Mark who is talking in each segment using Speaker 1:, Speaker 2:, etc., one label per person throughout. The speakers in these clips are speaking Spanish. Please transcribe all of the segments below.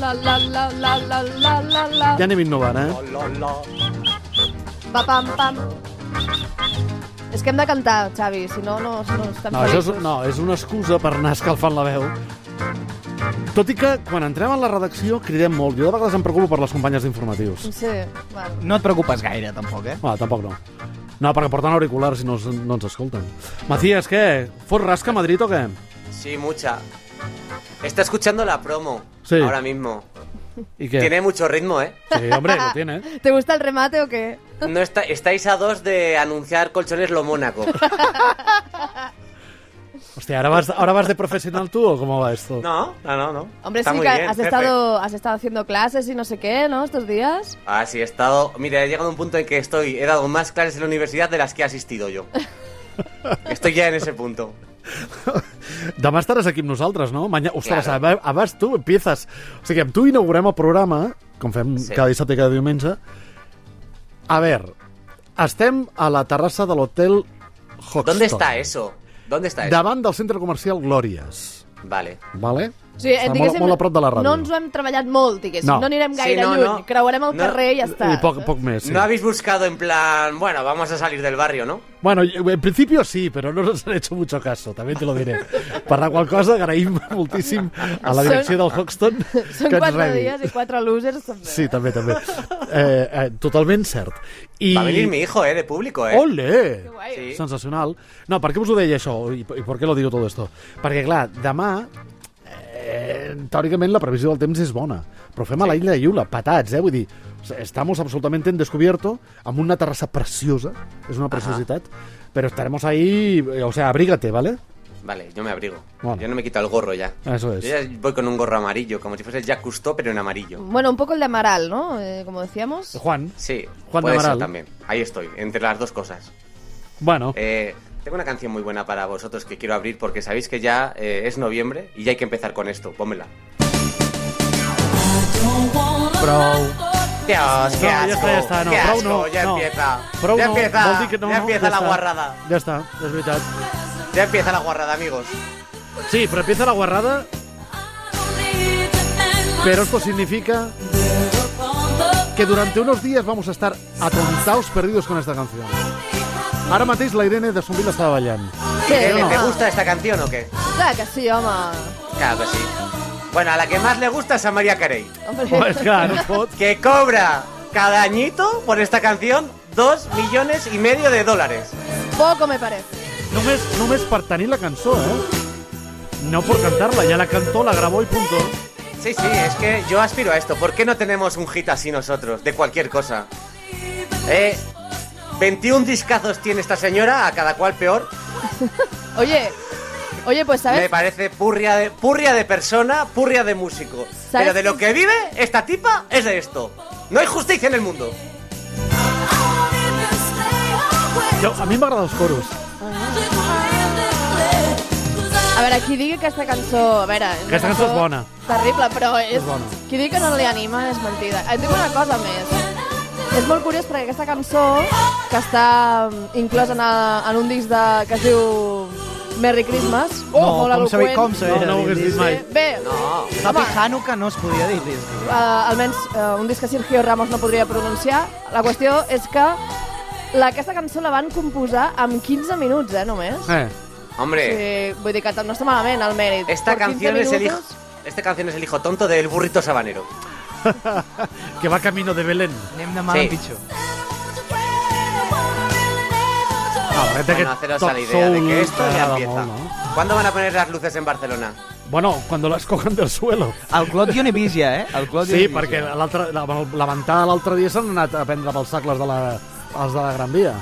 Speaker 1: la, la, la, la, la, la, la, la.
Speaker 2: Ja anem innovant, eh?
Speaker 1: Va, pam, pam. És que hem de cantar, Xavi, si no, no, no estem
Speaker 2: No, això és,
Speaker 1: feliços.
Speaker 2: no, és una excusa per anar escalfant la veu. Tot i que quan entrem a la redacció cridem molt. Jo de vegades em preocupo per les companyes d'informatius.
Speaker 1: Sí, bueno.
Speaker 3: No et preocupes gaire, tampoc, eh?
Speaker 2: Ah, tampoc no. No, perquè porten auriculars i no, es- no ens escolten. Macías, què? Fot rasca a Madrid o què?
Speaker 4: Sí, mucha. Está escuchando la promo
Speaker 2: Sí.
Speaker 4: ahora mismo.
Speaker 2: I què?
Speaker 4: Tiene mucho ritmo, ¿eh?
Speaker 2: Sí, hombre, lo tiene.
Speaker 1: ¿Te gusta el remate o qué?
Speaker 4: No está, estáis a dos de anunciar colchones lo Mónaco.
Speaker 2: Hostia, ¿ahora vas, ¿ahora vas de profesional tú o cómo va esto?
Speaker 4: No, no, no, no.
Speaker 1: Hombre,
Speaker 4: Está
Speaker 1: sí
Speaker 4: muy
Speaker 1: que
Speaker 4: bien,
Speaker 1: has
Speaker 4: jefe.
Speaker 1: estado, has estado haciendo clases y no sé qué, ¿no? Estos días.
Speaker 4: Ah, sí, he estado. Mira, he llegado a un punto en que estoy. He dado más clases en la universidad de las que he asistido yo. Estoy ya en ese punto.
Speaker 2: Demà estaràs aquí amb nosaltres, no? Manya... Ostres,
Speaker 4: Claro.
Speaker 2: claro. abans tu empieces... O sigui, amb tu inaugurem el programa, com fem sí.
Speaker 4: Sí.
Speaker 2: cada dissabte i cada diumenge. A veure, estem a la terrassa de l'hotel Hoxton.
Speaker 4: ¿Dónde está eh? eso? ¿Dónde está eso?
Speaker 2: Davant del centre comercial Glòries,
Speaker 4: Vale.
Speaker 2: vale?
Speaker 1: O sigui,
Speaker 2: Està molt,
Speaker 1: diguéssim,
Speaker 2: molt a prop de la ràdio.
Speaker 1: No ens ho hem treballat molt, diguéssim.
Speaker 2: No.
Speaker 1: No, anirem
Speaker 4: Sí,
Speaker 1: gaire
Speaker 4: no,
Speaker 1: lluny.
Speaker 4: no.
Speaker 1: Creuarem el
Speaker 4: No.
Speaker 1: carrer i ja està.
Speaker 2: I poc, poc més, sí.
Speaker 4: No habéis buscado en plan. Bueno, vamos a salir del barrio, ¿no?
Speaker 2: Bueno, en principio sí, pero no nos han hecho mucho caso, també te lo diré. Per la qual cosa agraïm moltíssim a la direcció del Hoxton
Speaker 1: Són
Speaker 2: que ens
Speaker 1: quatre
Speaker 2: rebi.
Speaker 1: dies i quatre losers. També.
Speaker 2: Sí, també, també. Eh, eh, totalment cert. I...
Speaker 4: Va a venir mi hijo, ¿eh? De público, ¿eh?
Speaker 2: Olé!
Speaker 1: Que guai.
Speaker 4: Sí.
Speaker 2: Sensacional. No, per què us ho deia això? I, i per què lo digo todo esto? Perquè, clar, demà, eh, teòricament, la previsió del temps és bona. Però fem a l'illa de Iula, patats, eh? Vull dir, o sea, estamos absolutamente en descubierto, amb una terrassa preciosa, és una preciositat, però estaremos ahí, eh, o sea, abrígate, ¿vale?
Speaker 4: Vale, yo me abrigo.
Speaker 2: Bueno.
Speaker 4: Yo no me quito el gorro ya.
Speaker 2: Eso es.
Speaker 4: Yo ya voy con un gorro amarillo, como si fuese el Jack Cousteau, pero en amarillo.
Speaker 1: Bueno, un poco el de Amaral, ¿no? Eh, como decíamos.
Speaker 2: Juan,
Speaker 4: Sí,
Speaker 2: Juan
Speaker 4: puede
Speaker 2: de Amaral.
Speaker 4: ser también. Ahí estoy, entre las dos cosas.
Speaker 2: bueno,
Speaker 4: Eh, tengo una canción muy buena para vosotros que quiero abrir porque sabéis que ya eh, es noviembre y ya hay que empezar con esto. Pónmela.
Speaker 2: prou.
Speaker 4: Dios, qué
Speaker 2: No, ja
Speaker 4: asco.
Speaker 2: està, ja està. No,
Speaker 4: qué
Speaker 2: prou
Speaker 4: asco,
Speaker 2: no.
Speaker 4: ya
Speaker 2: no.
Speaker 4: empieza.
Speaker 2: Prou
Speaker 4: ya
Speaker 2: no,
Speaker 4: empieza.
Speaker 2: vol dir que no,
Speaker 4: ya
Speaker 2: no,
Speaker 4: empieza la
Speaker 2: està.
Speaker 4: guarrada.
Speaker 2: Ja està, és veritat.
Speaker 4: Ya empieza la guarrada, amigos.
Speaker 2: Sí, però empieza la guarrada, però esto significa que durante unos días vamos a estar atontados perdidos con esta canción. Ara mateix la Irene de Sombril estava ballant.
Speaker 1: Sí,
Speaker 4: Irene,
Speaker 2: no.
Speaker 4: Eh, ¿Te gusta esta canción o qué?
Speaker 1: Clar que sí, home.
Speaker 4: Claro que sí. Bueno, a la que más le gusta es a María Carey,
Speaker 1: Hombre.
Speaker 2: Home, és clar, no Pues pot.
Speaker 4: que cobra cada añito por esta canción dos millones y medio de dólares.
Speaker 1: Poco me parece.
Speaker 2: Només, només per tenir la cançó, eh? No por cantarla, ya la cantó, la grabó y punto.
Speaker 4: Sí, sí, es que yo aspiro a esto. ¿Por qué no tenemos un hit así nosotros? De cualquier cosa. Eh, 21 discazos tiene esta señora, a cada cual peor.
Speaker 1: Oye, oye, pues
Speaker 4: Me
Speaker 1: sabes,
Speaker 4: parece purria de, purria de persona, purria de músico.
Speaker 1: ¿Sabes
Speaker 4: Pero de lo que vive esta tipa es de esto. No hay justicia en el mundo.
Speaker 2: Jo, a mi m'agraden els coros.
Speaker 1: a veure, qui digui aquesta cançó... A veure, és una
Speaker 2: Aquesta cançó és bona.
Speaker 1: Terrible, però és...
Speaker 2: És bona.
Speaker 1: Qui digui que no li anima és mentida. Et dic una cosa més. És molt curiós perquè aquesta cançó, que està mm, inclosa en, a- en un disc de, que es diu Merry Christmas, oh, molt
Speaker 3: com se,
Speaker 1: eloqüent.
Speaker 3: com se
Speaker 2: No, no ho hagués dit mai.
Speaker 1: Eh, Bé,
Speaker 4: No.
Speaker 3: Happy
Speaker 1: Home.
Speaker 3: Hanukkah no es podia dir. Disney.
Speaker 1: eh, almenys eh, un disc que Sergio Ramos no podria pronunciar. La qüestió és que la, aquesta cançó la van composar amb 15 minuts, eh, només.
Speaker 2: Eh,
Speaker 4: Hombre,
Speaker 1: Sí, vull dir que no està malament el mèrit.
Speaker 4: esta
Speaker 1: Per 15
Speaker 4: canción es el hijo.
Speaker 1: minutos-
Speaker 4: Esta canción es el hijo tonto del burrito sabanero.
Speaker 2: que va camino de Belén.
Speaker 3: Anem de mal
Speaker 4: Sí.
Speaker 3: en pitjor.
Speaker 2: Ah, perquè té aquest
Speaker 4: Bueno, haceros
Speaker 2: top
Speaker 4: a la idea de
Speaker 2: soul
Speaker 4: que esto
Speaker 2: que
Speaker 4: ya
Speaker 2: agrada
Speaker 4: empieza.
Speaker 2: Ah, molt, no?
Speaker 4: ¿Cuándo van a poner las luces en Barcelona?
Speaker 2: Bueno, cuando las cojan del suelo.
Speaker 3: El Clot Dionevisia, eh? El Clot
Speaker 2: Sí,
Speaker 3: Dionevisia.
Speaker 2: perquè l'altre- la, la ventada l'altre dia s'han anat a prendre pels sacles de la, els de la Gran Via.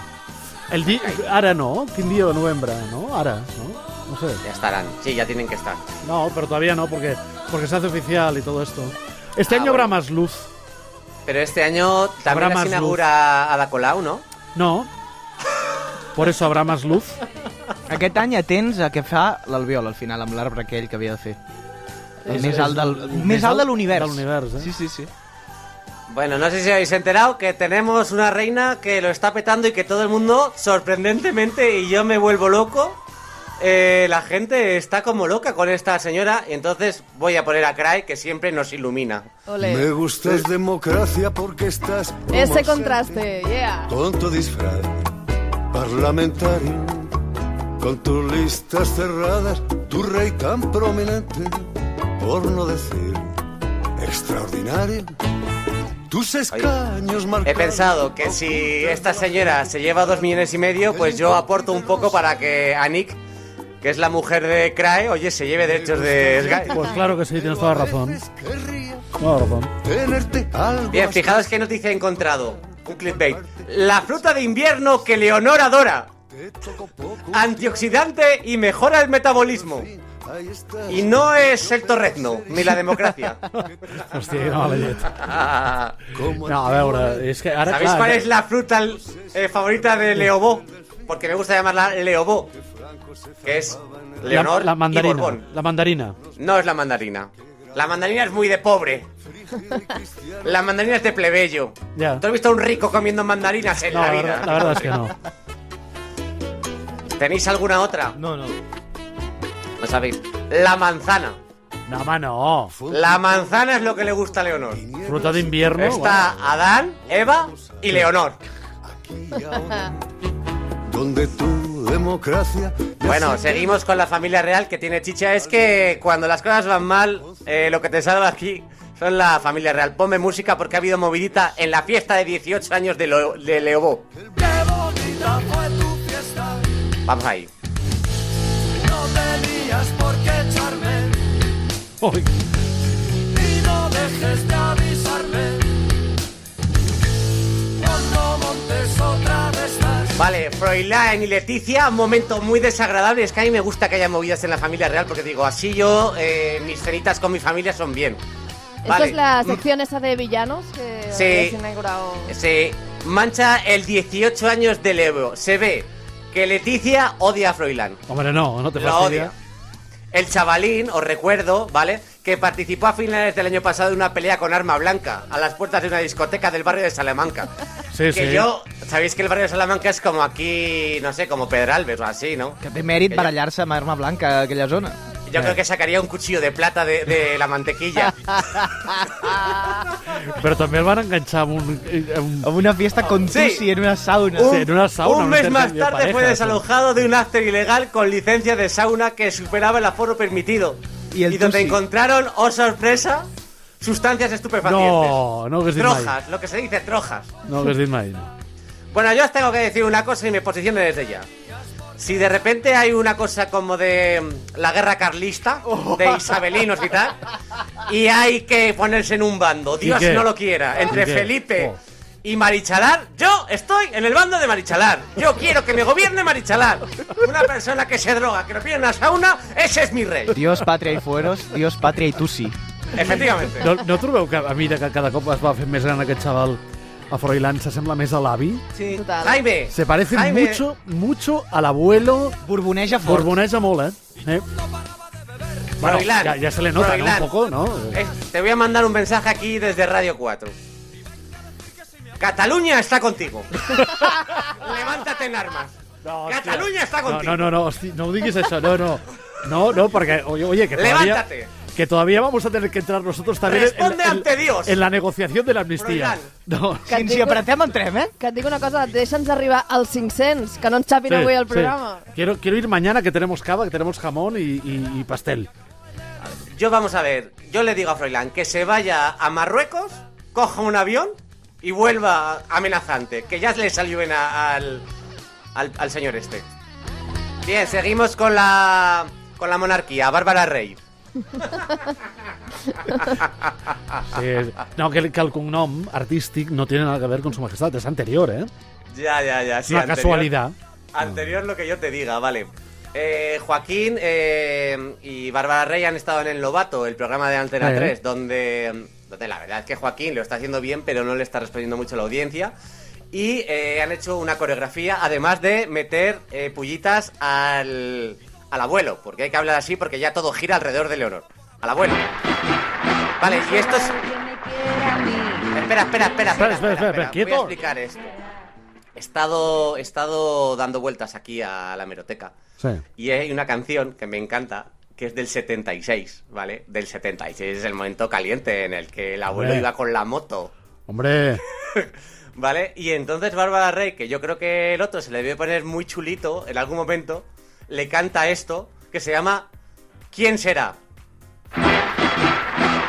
Speaker 2: El di... Ara no, quin dia de novembre, no? Ara, no? No sé.
Speaker 4: Ya estarán. Sí, ya tienen que estar.
Speaker 2: No, pero todavía no, porque, porque se hace oficial y todo esto. Este
Speaker 4: Ah,
Speaker 2: año habrá
Speaker 4: bueno.
Speaker 2: más luz.
Speaker 4: Pero este año
Speaker 2: Habrá
Speaker 4: también
Speaker 2: más
Speaker 4: las inaugura Ada Colau, ¿no?
Speaker 2: No. Por eso habrá más luz.
Speaker 3: Aquest any atents a què fa l'Albiol al final amb l'arbre aquell que havia de fer. El
Speaker 2: És-
Speaker 3: més
Speaker 2: és
Speaker 3: alt del,
Speaker 2: el més
Speaker 3: més alt de
Speaker 2: alt
Speaker 3: l'univers.
Speaker 2: de l'univers, eh?
Speaker 3: Sí, sí, sí.
Speaker 4: Bueno, no sé si habéis enterado que tenemos una reina que lo está petando y que todo el mundo, sorprendentemente, y yo me vuelvo loco, eh, la gente está como loca con esta señora, y entonces voy a poner a Cry, que siempre nos ilumina.
Speaker 5: Me
Speaker 1: Ole.
Speaker 5: gustas democracia porque estás. como
Speaker 1: Ese
Speaker 5: ausente,
Speaker 1: contraste, yeah.
Speaker 5: Con tu disfraz parlamentario, con tus listas cerradas, tu rey tan prominente, por no decir extraordinario. Tus escaños marcados.
Speaker 4: He pensado que si esta señora se lleva dos millones y medio, pues yo aporto un poco para que a Nick, que es la mujer de Cry, oye, se lleve derechos de Sky.
Speaker 2: Pues claro que sí, tienes toda la razón.
Speaker 5: Querría
Speaker 2: Toda la razón.
Speaker 5: tenerte algo
Speaker 4: Bien,
Speaker 5: más
Speaker 4: fijaos qué noticia he encontrado. Un clickbait. La fruta de invierno que Leonor adora.
Speaker 5: Te toco poco.
Speaker 4: Antioxidante y mejora el metabolismo.
Speaker 5: Ahí está.
Speaker 4: Y no es el torrezno, ni la democracia.
Speaker 2: Hòstia, quina mala llet.
Speaker 5: Como
Speaker 2: No, a veure, és que ara...
Speaker 4: ¿Sabéis
Speaker 2: clar,
Speaker 4: cuál es la fruta eh, favorita de Leobó? Porque me gusta llamarla Leobó. Que es Leonor
Speaker 2: la, la
Speaker 4: y
Speaker 2: mandarina.
Speaker 4: Borbón.
Speaker 2: La mandarina.
Speaker 4: No es la mandarina. La mandarina es muy de pobre. La mandarina es de plebeyo.
Speaker 2: Ya.
Speaker 4: ¿Tú has visto a un rico comiendo mandarinas en
Speaker 2: No,
Speaker 4: la
Speaker 2: la,
Speaker 4: vida?
Speaker 2: verdad- la verdad es que no.
Speaker 4: ¿Tenéis alguna otra?
Speaker 3: No, no.
Speaker 4: No sabéis. La manzana.
Speaker 2: No, home, no.
Speaker 4: La manzana es lo que le gusta a Leonor.
Speaker 2: Fruta d'invierno.
Speaker 4: Está Adán, Eva y Leonor.
Speaker 5: aquí ahora, donde tu democracia. ya
Speaker 4: Bueno,
Speaker 5: se-
Speaker 4: seguimos con la familia real que tiene chicha. Es que cuando las cosas van mal, eh, lo que te salva aquí son la familia real. Ponme música porque ha habido movidita en la fiesta de 18 años de, Lo- de Leobó. Vamos ahí.
Speaker 2: Bueno. Ui,
Speaker 4: Vale, Froilán y Leticia, un momento muy desagradable. Es que a mí me gusta que haya movidas en la familia real porque digo, así yo, eh, mis cenitas con mi familia son bien.
Speaker 1: Esta es la
Speaker 4: Mm,
Speaker 1: sección esa de villanos que
Speaker 4: Sí.
Speaker 1: habéis inaugurado.
Speaker 4: Se mancha el 18 años de Leo. Se ve que Leticia odia a Froilán.
Speaker 2: Hombre, no, no te
Speaker 4: La
Speaker 2: fastidia.
Speaker 4: odia. El chavalín, os recuerdo, ¿vale? Que participó a finales del año pasado en una pelea con arma blanca a las puertas de una discoteca del barrio de Salamanca.
Speaker 2: Sí,
Speaker 4: que
Speaker 2: sí.
Speaker 4: yo, sabéis que el barrio de Salamanca es como aquí, no sé, como Pedralbes o así, ¿no?
Speaker 3: Que té mèrit
Speaker 4: Que ja-
Speaker 3: barallar-se amb arma blanca a aquella zona.
Speaker 4: Yo
Speaker 2: eh.
Speaker 4: creo que sacaría un cuchillo de plata de, de la mantequilla.
Speaker 2: Però també el van enganxar amb un... eh, Amb...
Speaker 3: Amb una fiesta con
Speaker 4: Sí.
Speaker 3: Tusi en una sauna.
Speaker 2: Sí, en una sauna,
Speaker 4: un
Speaker 2: un
Speaker 4: mes más
Speaker 2: intercambio de
Speaker 4: tarde fue
Speaker 2: parejas,
Speaker 4: desalojado de un after ilegal con licencia de sauna que superaba el aforo permitido.
Speaker 3: Y el
Speaker 4: donde
Speaker 3: tusi.
Speaker 4: encontraron, oh sorpresa, sustancias estupefacientes.
Speaker 2: No, no hagués dit mai.
Speaker 4: trojas, lo que se dice trojas.
Speaker 2: No ho hagués dit mai.
Speaker 4: Bueno, yo os tengo que decir una cosa y me posiciono desde ya. Si de repente hay una cosa como de mm, la guerra carlista,
Speaker 2: Oh.
Speaker 4: de isabelinos y tal, y hay que ponerse en un bando, Dios
Speaker 2: qué?
Speaker 4: no lo quiera, entre
Speaker 2: ¿Y qué?
Speaker 4: Felipe
Speaker 2: Oh.
Speaker 4: y Marichalar, yo estoy en el bando de Marichalar. Yo quiero que me gobierne Marichalar. Una persona que se droga, que no pide una sauna, ese es mi rey.
Speaker 3: Dios, patria y fueros, Dios, patria y Tusi.
Speaker 4: Efectivamente.
Speaker 2: No, no trobeu que a mesura que cada cop es va fent més gran aquest xaval a Froilán s'assembla més a l'avi?
Speaker 4: Sí.
Speaker 1: Total.
Speaker 4: Jaime.
Speaker 2: Se parece
Speaker 4: Jaime,
Speaker 2: mucho, mucho a l'abuelo
Speaker 3: Borboneja fort.
Speaker 2: borboneja molt, eh? eh? Bueno,
Speaker 4: Froilán,
Speaker 2: ja, ja se le nota,
Speaker 4: Froilán.
Speaker 2: ¿no? Un poco, ¿no?
Speaker 4: Eh, te voy a mandar un mensaje aquí desde Radio 4. Cataluña está contigo. Levántate en armas.
Speaker 2: No, hòstia.
Speaker 4: Cataluña está
Speaker 2: No,
Speaker 4: contigo.
Speaker 2: no, no, no, hosti, no ho diguis això, no, no. No, no, porque, oye, oye, que todavía,
Speaker 4: Levántate.
Speaker 2: que todavía vamos a tener que entrar nosotros también en-
Speaker 4: Responde
Speaker 2: en,
Speaker 4: ante Dios.
Speaker 2: en la negociación de la amnistía.
Speaker 4: Froilán.
Speaker 2: No,
Speaker 3: Si, si apretem, entrem, eh?
Speaker 1: Que et dic una cosa, deixa'ns arribar als 500, que no ens xapin avui el programa.
Speaker 2: Quiero, quiero ir mañana que tenemos cava, que tenemos jamón y, y- y pastel.
Speaker 4: Yo vamos a ver, yo le digo a Froilán que se vaya a Marruecos, coja un avión y vuelva amenazante, que ya le salió bien a- al, al, al señor este. Bien, seguimos con la con la monarquía, Bárbara Rey.
Speaker 2: Sí. No, que, el- que el cognom artístic no tiene nada que ver con su majestad, es anterior, ¿eh?
Speaker 4: Ya, ya, ya.
Speaker 2: Es
Speaker 4: sí,
Speaker 2: una
Speaker 4: anterior.
Speaker 2: casualidad.
Speaker 4: Anterior lo que yo te diga, vale. Eh, Joaquín eh, y Bárbara Rey han estado en El Lobato, el programa de Antena
Speaker 2: Eh.
Speaker 4: 3, donde, donde la verdad es que Joaquín lo está haciendo bien, pero no le está respondiendo mucho a la audiencia. Y eh, han hecho una coreografía, además de meter eh, pullitas al, al abuelo, porque hay que hablar así, porque ya todo gira alrededor de Leonor. Al abuelo. Vale, y esto es... Espera, espera, espera, espera,
Speaker 2: espera, espera,
Speaker 4: espera. Voy a
Speaker 2: quieto.
Speaker 4: explicar esto. he estado, he estado dando vueltas aquí a la meroteca.
Speaker 2: Sí.
Speaker 4: Y hay una canción que me encanta, que es del 76, ¿vale? Del 76 es el momento caliente en el que el abuelo
Speaker 2: Hombre.
Speaker 4: iba con la moto,
Speaker 2: Hombre,
Speaker 4: ¿vale? Y entonces Bárbara Rey, que yo creo que el otro se le debe poner muy chulito en algún momento, le canta esto que se llama ¿Quién será?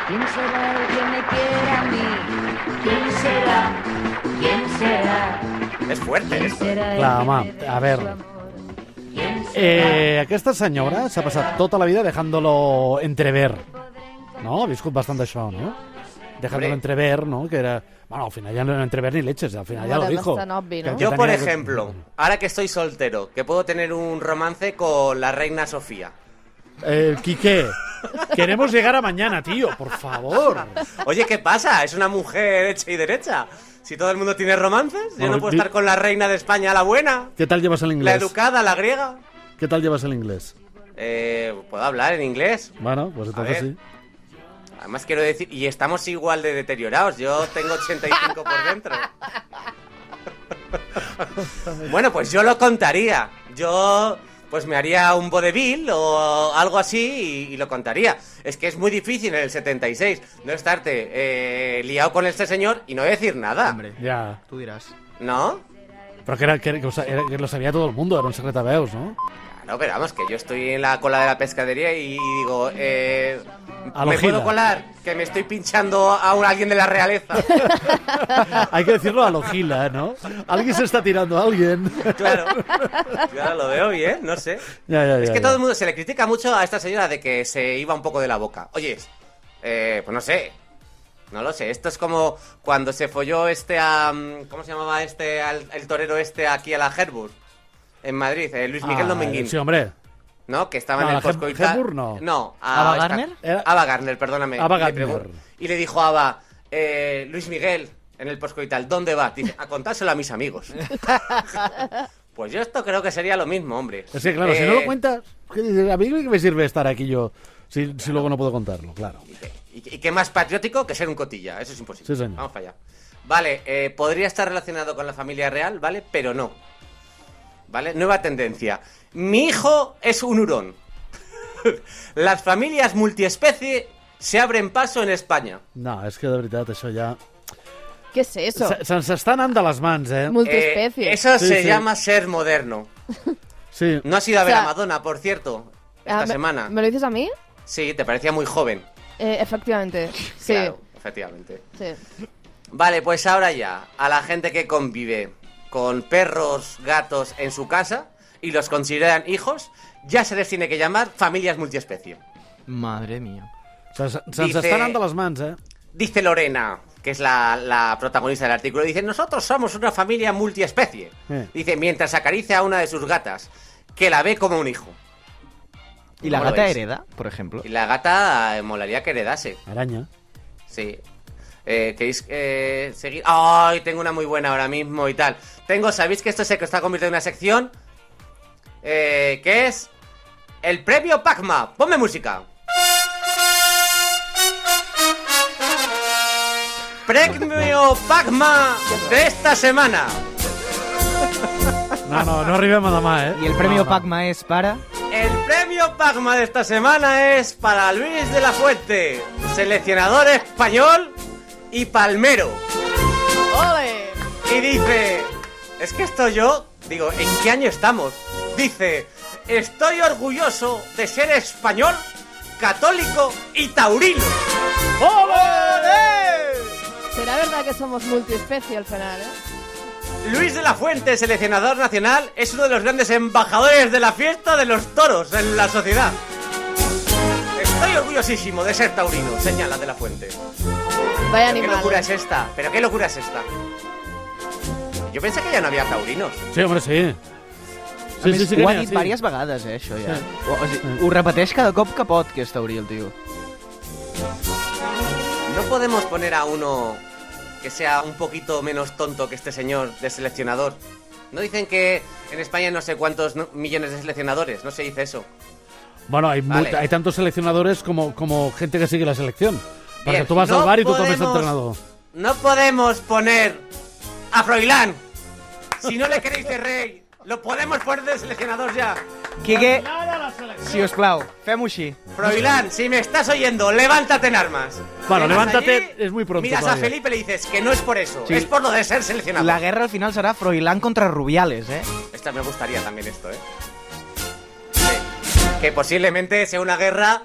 Speaker 6: ¿Quién será el que me quiere a mí? ¿Quién será? ¿Quién será?
Speaker 4: Es fuerte
Speaker 6: ¿Quién
Speaker 4: esto.
Speaker 6: será el
Speaker 2: Clar,
Speaker 6: que
Speaker 2: home,
Speaker 6: me
Speaker 2: a ver.
Speaker 6: roba su amor? ¿Quién será?
Speaker 2: eh, aquesta senyora s'ha passat tota la vida dejándolo entrever. No? Ha viscut bastant d'això, no? Dejándolo
Speaker 4: Hombre.
Speaker 2: entrever, no? Que era... Bueno, al final ya no era entrever ni leches, al final ya
Speaker 1: Bueno,
Speaker 2: lo dijo.
Speaker 1: bastant obvi,
Speaker 2: Que-
Speaker 1: no?
Speaker 2: que
Speaker 4: Yo, por
Speaker 2: tenia-
Speaker 4: ejemplo, ahora que estoy soltero, que puedo tener un romance con la reina Sofía.
Speaker 2: Eh, Quique, queremos llegar a mañana, tío, por favor.
Speaker 4: Oye, ¿qué pasa? Es una mujer hecha y derecha. Si todo el mundo tiene romances, yo
Speaker 2: Bueno,
Speaker 4: no puedo
Speaker 2: di-
Speaker 4: estar con la reina de España, la buena,
Speaker 2: ¿Qué tal llevas el
Speaker 4: la
Speaker 2: inglés?
Speaker 4: educada, la griega.
Speaker 2: ¿Qué tal llevas el inglés?
Speaker 4: Eh, puedo hablar en inglés.
Speaker 2: Bueno, pues entonces
Speaker 4: A ver.
Speaker 2: sí.
Speaker 4: Además, quiero decir, y estamos igual de deteriorados. Yo tengo 85 por dentro. bueno, pues yo lo contaría. Yo, pues me haría un vodevil o algo así y, y lo contaría. Es que es muy difícil en el 76 no estarte eh, liado con este señor y no decir nada.
Speaker 3: Hombre,
Speaker 2: Ja.
Speaker 3: tu diràs.
Speaker 4: ¿No?
Speaker 2: Però que, era, que, era, que, ho, sa- era, que lo sabia tot el mundo, era un secret a veus, no?
Speaker 4: Claro, Ah, pero vamos, que yo estoy en la cola de la pescadería y, y digo, eh,
Speaker 2: A lo
Speaker 4: ¿me puedo
Speaker 2: Gila.
Speaker 4: colar? Que me estoy pinchando a un- alguien de la realeza.
Speaker 2: Hay que decirlo a lo gila, ¿no? Alguien se está tirando a alguien.
Speaker 4: Claro. Claro, lo veo bien, no sé.
Speaker 2: Ya, ya, ya,
Speaker 4: es que
Speaker 2: ya.
Speaker 4: todo el mundo se le critica mucho a esta señora de que se iba un poco de la boca. Oye, eh, pues no sé. No lo sé. Esto es como cuando se folló este a. mm, ¿Cómo se llamaba este? al- el torero este aquí a la Herbur. En Madrid, eh, Luis Miguel
Speaker 2: Ah,
Speaker 4: Dominguín.
Speaker 2: Sí, hombre.
Speaker 4: ¿No? Que estaba
Speaker 2: No,
Speaker 4: en
Speaker 2: la
Speaker 4: el
Speaker 2: Heb-
Speaker 4: Coscoita.
Speaker 2: Hepburn no.
Speaker 4: No.
Speaker 3: ¿Ava
Speaker 4: esta-
Speaker 3: Gardner?
Speaker 2: Era-
Speaker 4: Ava Garner, perdóname.
Speaker 2: Ava
Speaker 4: Le
Speaker 2: Gardner.
Speaker 4: pregun- Y le dijo a Ava, eh, Luis Miguel, en el Poscoital, ¿dónde vas? Dice, a contárselo a mis amigos. pues yo esto creo que sería lo mismo, hombre.
Speaker 2: Es que, claro, si
Speaker 4: Eh,
Speaker 2: no lo cuentas, ¿qué dices? a mí qué me sirve estar aquí yo si, si luego no puedo contarlo, claro.
Speaker 4: dice, ¿Y qué- y qué más patriótico que ser un cotilla? Eso es imposible.
Speaker 2: Sí, señor.
Speaker 4: Vamos para allá. Vale, eh, podría estar relacionado con la familia real, ¿vale? Pero no. ¿Vale? Nueva tendencia. Mi hijo es un hurón. Las familias multiespecie se abren paso en España.
Speaker 2: No, és que de veritat això ja...
Speaker 1: Què és eso?
Speaker 2: Se- Se'ns està anant de les mans, eh?
Speaker 1: Multiespecie.
Speaker 4: Eh, eso
Speaker 2: Sí,
Speaker 4: se
Speaker 2: sí.
Speaker 4: llama ser moderno.
Speaker 2: Sí.
Speaker 4: No has ido a ver
Speaker 1: O sea,
Speaker 4: a Madonna, por cierto,
Speaker 1: Ah,
Speaker 4: esta
Speaker 1: me-
Speaker 4: semana.
Speaker 1: ¿Me lo dices a mí?
Speaker 4: Sí, te parecía muy joven.
Speaker 1: Eh, efectivamente. Sí.
Speaker 4: Claro, efectivamente.
Speaker 1: sí.
Speaker 4: Vale, pues ahora ya, a la gente que convive con perros, gatos en su casa y los consideran hijos, ya se les tiene que llamar familias multiespecie.
Speaker 3: Madre mía.
Speaker 2: Se- se- Se'ns
Speaker 4: Dice-
Speaker 2: està anant de les mans, eh?
Speaker 4: Dice Lorena, que es la, la protagonista del artículo, dice, nosotros somos una familia multiespecie.
Speaker 2: Eh.
Speaker 4: Dice, mientras acaricia a una de sus gatas, que la ve como un hijo.
Speaker 3: I la
Speaker 4: ¿Cómo lo
Speaker 3: gata
Speaker 4: veis?
Speaker 3: hereda, por ejemplo.
Speaker 4: Y la gata eh, molaría que heredase.
Speaker 2: Aranya.
Speaker 4: Sí. Eh, ¿Queréis eh, seguir? ¡Ay! Tengo una muy buena ahora mismo y tal. Tengo, ¿sabéis que esto se está convirtiendo en una sección? Eh, que es el premio Pacma. Ponme música. Premio Pacma de esta semana.
Speaker 2: No, no, no arribem a demà, eh?
Speaker 3: I el Premi
Speaker 2: no, no.
Speaker 3: Pacma és para...
Speaker 4: El premio Pacma de esta semana es para Luis de la Fuente, seleccionador español y palmero.
Speaker 1: ¡Ole!
Speaker 4: Y dice, es que esto yo, digo, ¿en qué año estamos? Dice, estoy orgulloso de ser español, católico y taurino.
Speaker 1: Será verdad que somos multiespecie al final, ¿eh?
Speaker 4: Luis de la Fuente, seleccionador nacional, es uno de los grandes embajadores de la fiesta de los toros en la sociedad. Estoy orgullosísimo de ser taurino, señala de la Fuente.
Speaker 1: Vaya
Speaker 4: ¿Pero qué locura
Speaker 1: animal.
Speaker 4: es esta? ¿Pero qué locura es esta? Yo pensé que ya no había taurinos.
Speaker 2: Sí, home, sí.
Speaker 3: Sí, més, sí, sí, ho ha
Speaker 2: n'hi ha,
Speaker 3: dit sí. diverses vegades, eh, això ja.
Speaker 2: Sí.
Speaker 3: Sí. O, o sigui, ho repeteix cada cop que pot, aquesta teoria, el tio.
Speaker 4: ¿No podemos poner a uno que sea un poquito menos tonto que este señor de seleccionador? ¿No dicen que en España no sé cuántos no- millones de seleccionadores? No se dice eso.
Speaker 2: Bueno, hay,
Speaker 4: Vale.
Speaker 2: mu- hay tantos seleccionadores como, como gente que sigue la selección. Porque
Speaker 4: Bien,
Speaker 2: tú vas
Speaker 4: no
Speaker 2: al bar y tú tomes
Speaker 4: podemos-
Speaker 2: entrenador.
Speaker 4: No podemos poner a Froilán Si no le queréis de rey, lo podemos poner de seleccionador ya.
Speaker 3: Quique,
Speaker 7: Clara la selecció.
Speaker 3: si us plau, fem-ho així.
Speaker 4: Froilán, si me estás oyendo, levántate en armas.
Speaker 2: Bueno,
Speaker 4: Llegas
Speaker 2: levántate, es muy pronto
Speaker 4: Miras
Speaker 2: todavía.
Speaker 4: a Felipe y le dices que no es por eso,
Speaker 3: Sí.
Speaker 4: es por lo de ser seleccionado.
Speaker 3: La guerra al final serà Froilán contra Rubiales, eh?
Speaker 4: Esta me gustaría también esto, ¿eh? Sí. Que posiblemente sea una guerra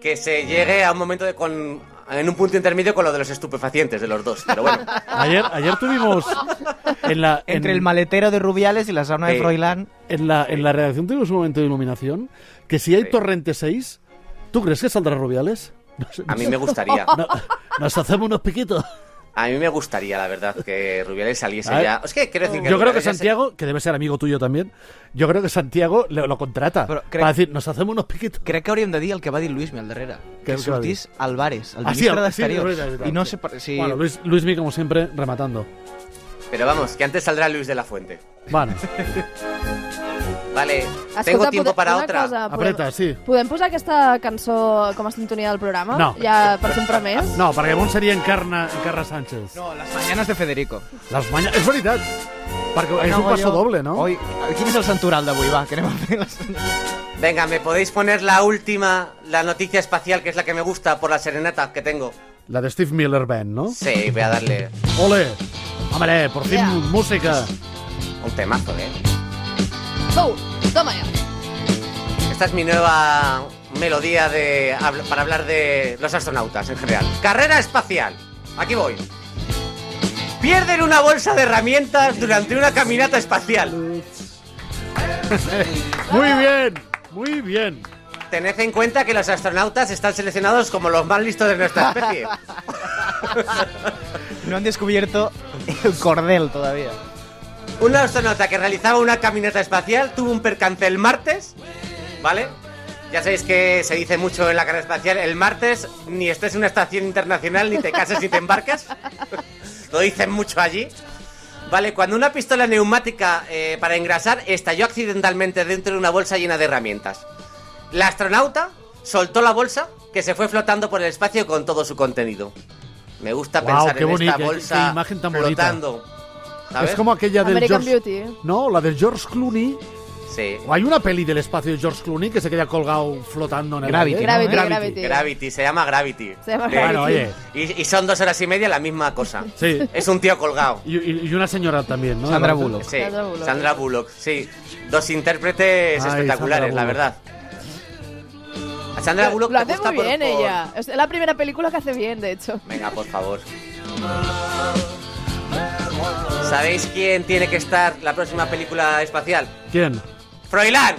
Speaker 4: que se llegue a un momento de con en un punto intermedio con lo de los estupefacientes de los dos, pero bueno.
Speaker 2: Ayer, ayer tuvimos en la, en- Eh.
Speaker 3: Entre el maletero de Rubiales y la sauna de
Speaker 4: Sí.
Speaker 3: Froilán.
Speaker 2: en la, en la redacción tuvimos un momento de iluminación que si hay
Speaker 4: Sí.
Speaker 2: Torrente 6, ¿tú crees que saldrá Rubiales? Nos,
Speaker 4: A mí me gustaría,
Speaker 2: no- nos hacemos unos piquitos.
Speaker 4: a mí me gustaría, la verdad, que Rubiales saliese
Speaker 2: A ver.
Speaker 4: ya. Es que quiero decir que
Speaker 2: Yo creo que
Speaker 4: Rubiales ya se-
Speaker 2: Santiago, que debe ser amigo tuyo también, yo creo que Santiago lo, lo contrata
Speaker 3: Però crec-
Speaker 2: para decir, nos hacemos unos piquitos.
Speaker 3: Crec que hauríem de dir el que va dir Luismi al darrere.
Speaker 2: Què- què
Speaker 3: Que
Speaker 2: va dir?
Speaker 3: sortís Álvarez, el
Speaker 2: Ah, sí,
Speaker 3: ministre
Speaker 2: el- sí, és
Speaker 3: d'Exteriors.
Speaker 2: veritat, és veritat,
Speaker 3: I no
Speaker 2: sí.
Speaker 3: sé per, si...
Speaker 2: Bueno, Luis, Luismi, como siempre, rematando.
Speaker 4: Pero vamos, que antes saldrá Luis de la Fuente.
Speaker 2: Bueno,
Speaker 4: Vale,
Speaker 1: Escolta,
Speaker 4: tengo tiempo
Speaker 1: pode-
Speaker 4: para
Speaker 1: una
Speaker 4: otra.
Speaker 1: cosa, podem-
Speaker 2: apreta, sí.
Speaker 1: Podem posar aquesta cançó com a sintonia del programa?
Speaker 2: No.
Speaker 1: Ja per sempre més?
Speaker 2: No, perquè Mont seria Encarna, Encarna Sánchez.
Speaker 3: No, les mañanes de Federico.
Speaker 2: Les manya... És veritat. Perquè és un
Speaker 3: Cago
Speaker 2: passo
Speaker 3: jo.
Speaker 2: doble, no?
Speaker 3: Oi, quin és el santoral d'avui? Va, que anem a fer les...
Speaker 4: Venga, ¿me podéis poner la última, la noticia espacial, que es la que me gusta por la serenata que tengo?
Speaker 2: La de Steve Miller Band, no?
Speaker 4: Sí, voy a darle
Speaker 2: Ole! Hombre, por fin
Speaker 1: Yeah.
Speaker 2: música.
Speaker 4: un temazo, ¿eh? Ah.
Speaker 1: Bou, toma ja.
Speaker 4: Esta es mi nueva melodía de, habl- para hablar de los astronautas en general. Carrera espacial. Aquí voy. Pierden una bolsa de herramientas durante una caminata espacial.
Speaker 2: Muy bien, muy bien.
Speaker 4: Tened en cuenta que los astronautas están seleccionados como los más listos de nuestra especie.
Speaker 3: No han descubierto el cordel todavía.
Speaker 4: Un astronauta que realizaba una caminata espacial tuvo un percance el martes, ¿vale? Ya sabéis que se dice mucho en la carrera espacial, el martes ni estés en una estación internacional, ni te cases ni te embarcas. Lo dicen mucho allí. Vale, cuando una pistola neumática eh, para engrasar estalló accidentalmente dentro de una bolsa llena de herramientas. La astronauta soltó la bolsa que se fue flotando por el espacio con todo su contenido. Me gusta
Speaker 2: Guau,
Speaker 4: pensar
Speaker 2: qué
Speaker 4: en
Speaker 2: bonita, qué-
Speaker 4: esta
Speaker 2: qué
Speaker 4: bolsa
Speaker 2: imagen tan bonita.
Speaker 4: flotando. ¿sabes?
Speaker 2: Es como aquella del
Speaker 1: American
Speaker 2: George...
Speaker 1: Beauty. ¿eh?
Speaker 2: No, la del George Clooney.
Speaker 4: Sí.
Speaker 2: O hay una peli del espacio de George Clooney que se queda colgado flotando en el
Speaker 3: Gravity,
Speaker 2: aire.
Speaker 3: ¿no?
Speaker 1: Gravity, Gravity.
Speaker 4: Gravity, se llama Gravity.
Speaker 1: Se llama
Speaker 4: De-
Speaker 2: Bueno,
Speaker 1: Gravity.
Speaker 2: oye.
Speaker 4: Y, y son dos horas y media la misma cosa.
Speaker 2: Sí.
Speaker 4: Es un tío colgado.
Speaker 2: Y, y- y una señora también, ¿no?
Speaker 3: Sandra
Speaker 2: Aparte.
Speaker 3: Bullock.
Speaker 4: Sí,
Speaker 1: Sandra Bullock.
Speaker 4: Sandra Bullock, sí. Dos intérpretes
Speaker 2: Ay,
Speaker 4: espectaculares,
Speaker 2: Sandra
Speaker 4: la verdad. A Sandra Bullock
Speaker 1: Lo
Speaker 4: te
Speaker 1: hace
Speaker 4: gusta
Speaker 1: muy
Speaker 4: por-
Speaker 1: bien
Speaker 4: por-
Speaker 1: ella. Es la primera película que hace bien, de hecho.
Speaker 4: Venga, por favor. ¿Sabéis quién tiene que estar la próxima película espacial?
Speaker 2: ¿Quién?
Speaker 4: ¡Froilán!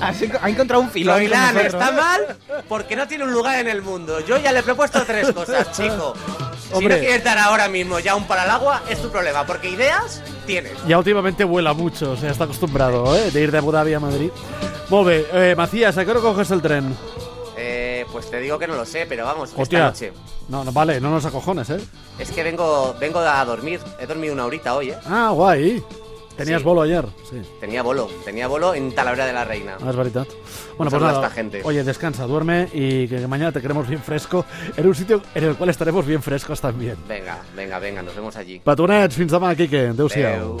Speaker 3: Has enco- Ha encontrado un filón. con
Speaker 4: Froilán
Speaker 3: nosotros.
Speaker 4: está mal porque no tiene un lugar en el mundo. Yo ya le he propuesto tres cosas, chico. Si
Speaker 2: Hombre.
Speaker 4: no quieres dar ahora mismo ya un para el agua, es tu problema, porque ideas tienes.
Speaker 2: Ya últimamente vuela mucho, o sea, está acostumbrado, ¿eh? De ir de Abu Dhabi a Madrid. Volve, eh, Macías, ¿a qué hora coges el tren?
Speaker 4: Eh, pues te digo que no lo sé, pero vamos,
Speaker 2: Hostia.
Speaker 4: esta noche.
Speaker 2: No, no, vale, no nos acojones, ¿eh?
Speaker 4: Es que vengo, vengo a dormir. He dormido una horita hoy, ¿eh?
Speaker 2: Ah, guai. Tenies
Speaker 4: Sí.
Speaker 2: bolo ayer, sí.
Speaker 4: Tenía bolo, tenía bolo en Talavera de la Reina.
Speaker 2: Ah, es veritat. Bueno,
Speaker 4: Pues
Speaker 2: pues
Speaker 4: habla
Speaker 2: nada,
Speaker 4: esta gente.
Speaker 2: oye, descansa, duerme y que mañana te queremos bien fresco en un sitio en el cual estaremos bien frescos también.
Speaker 4: Venga, venga, venga, nos vemos allí.
Speaker 2: Petonets, fins demà, Quique. Adéu-siau.
Speaker 4: Adeu.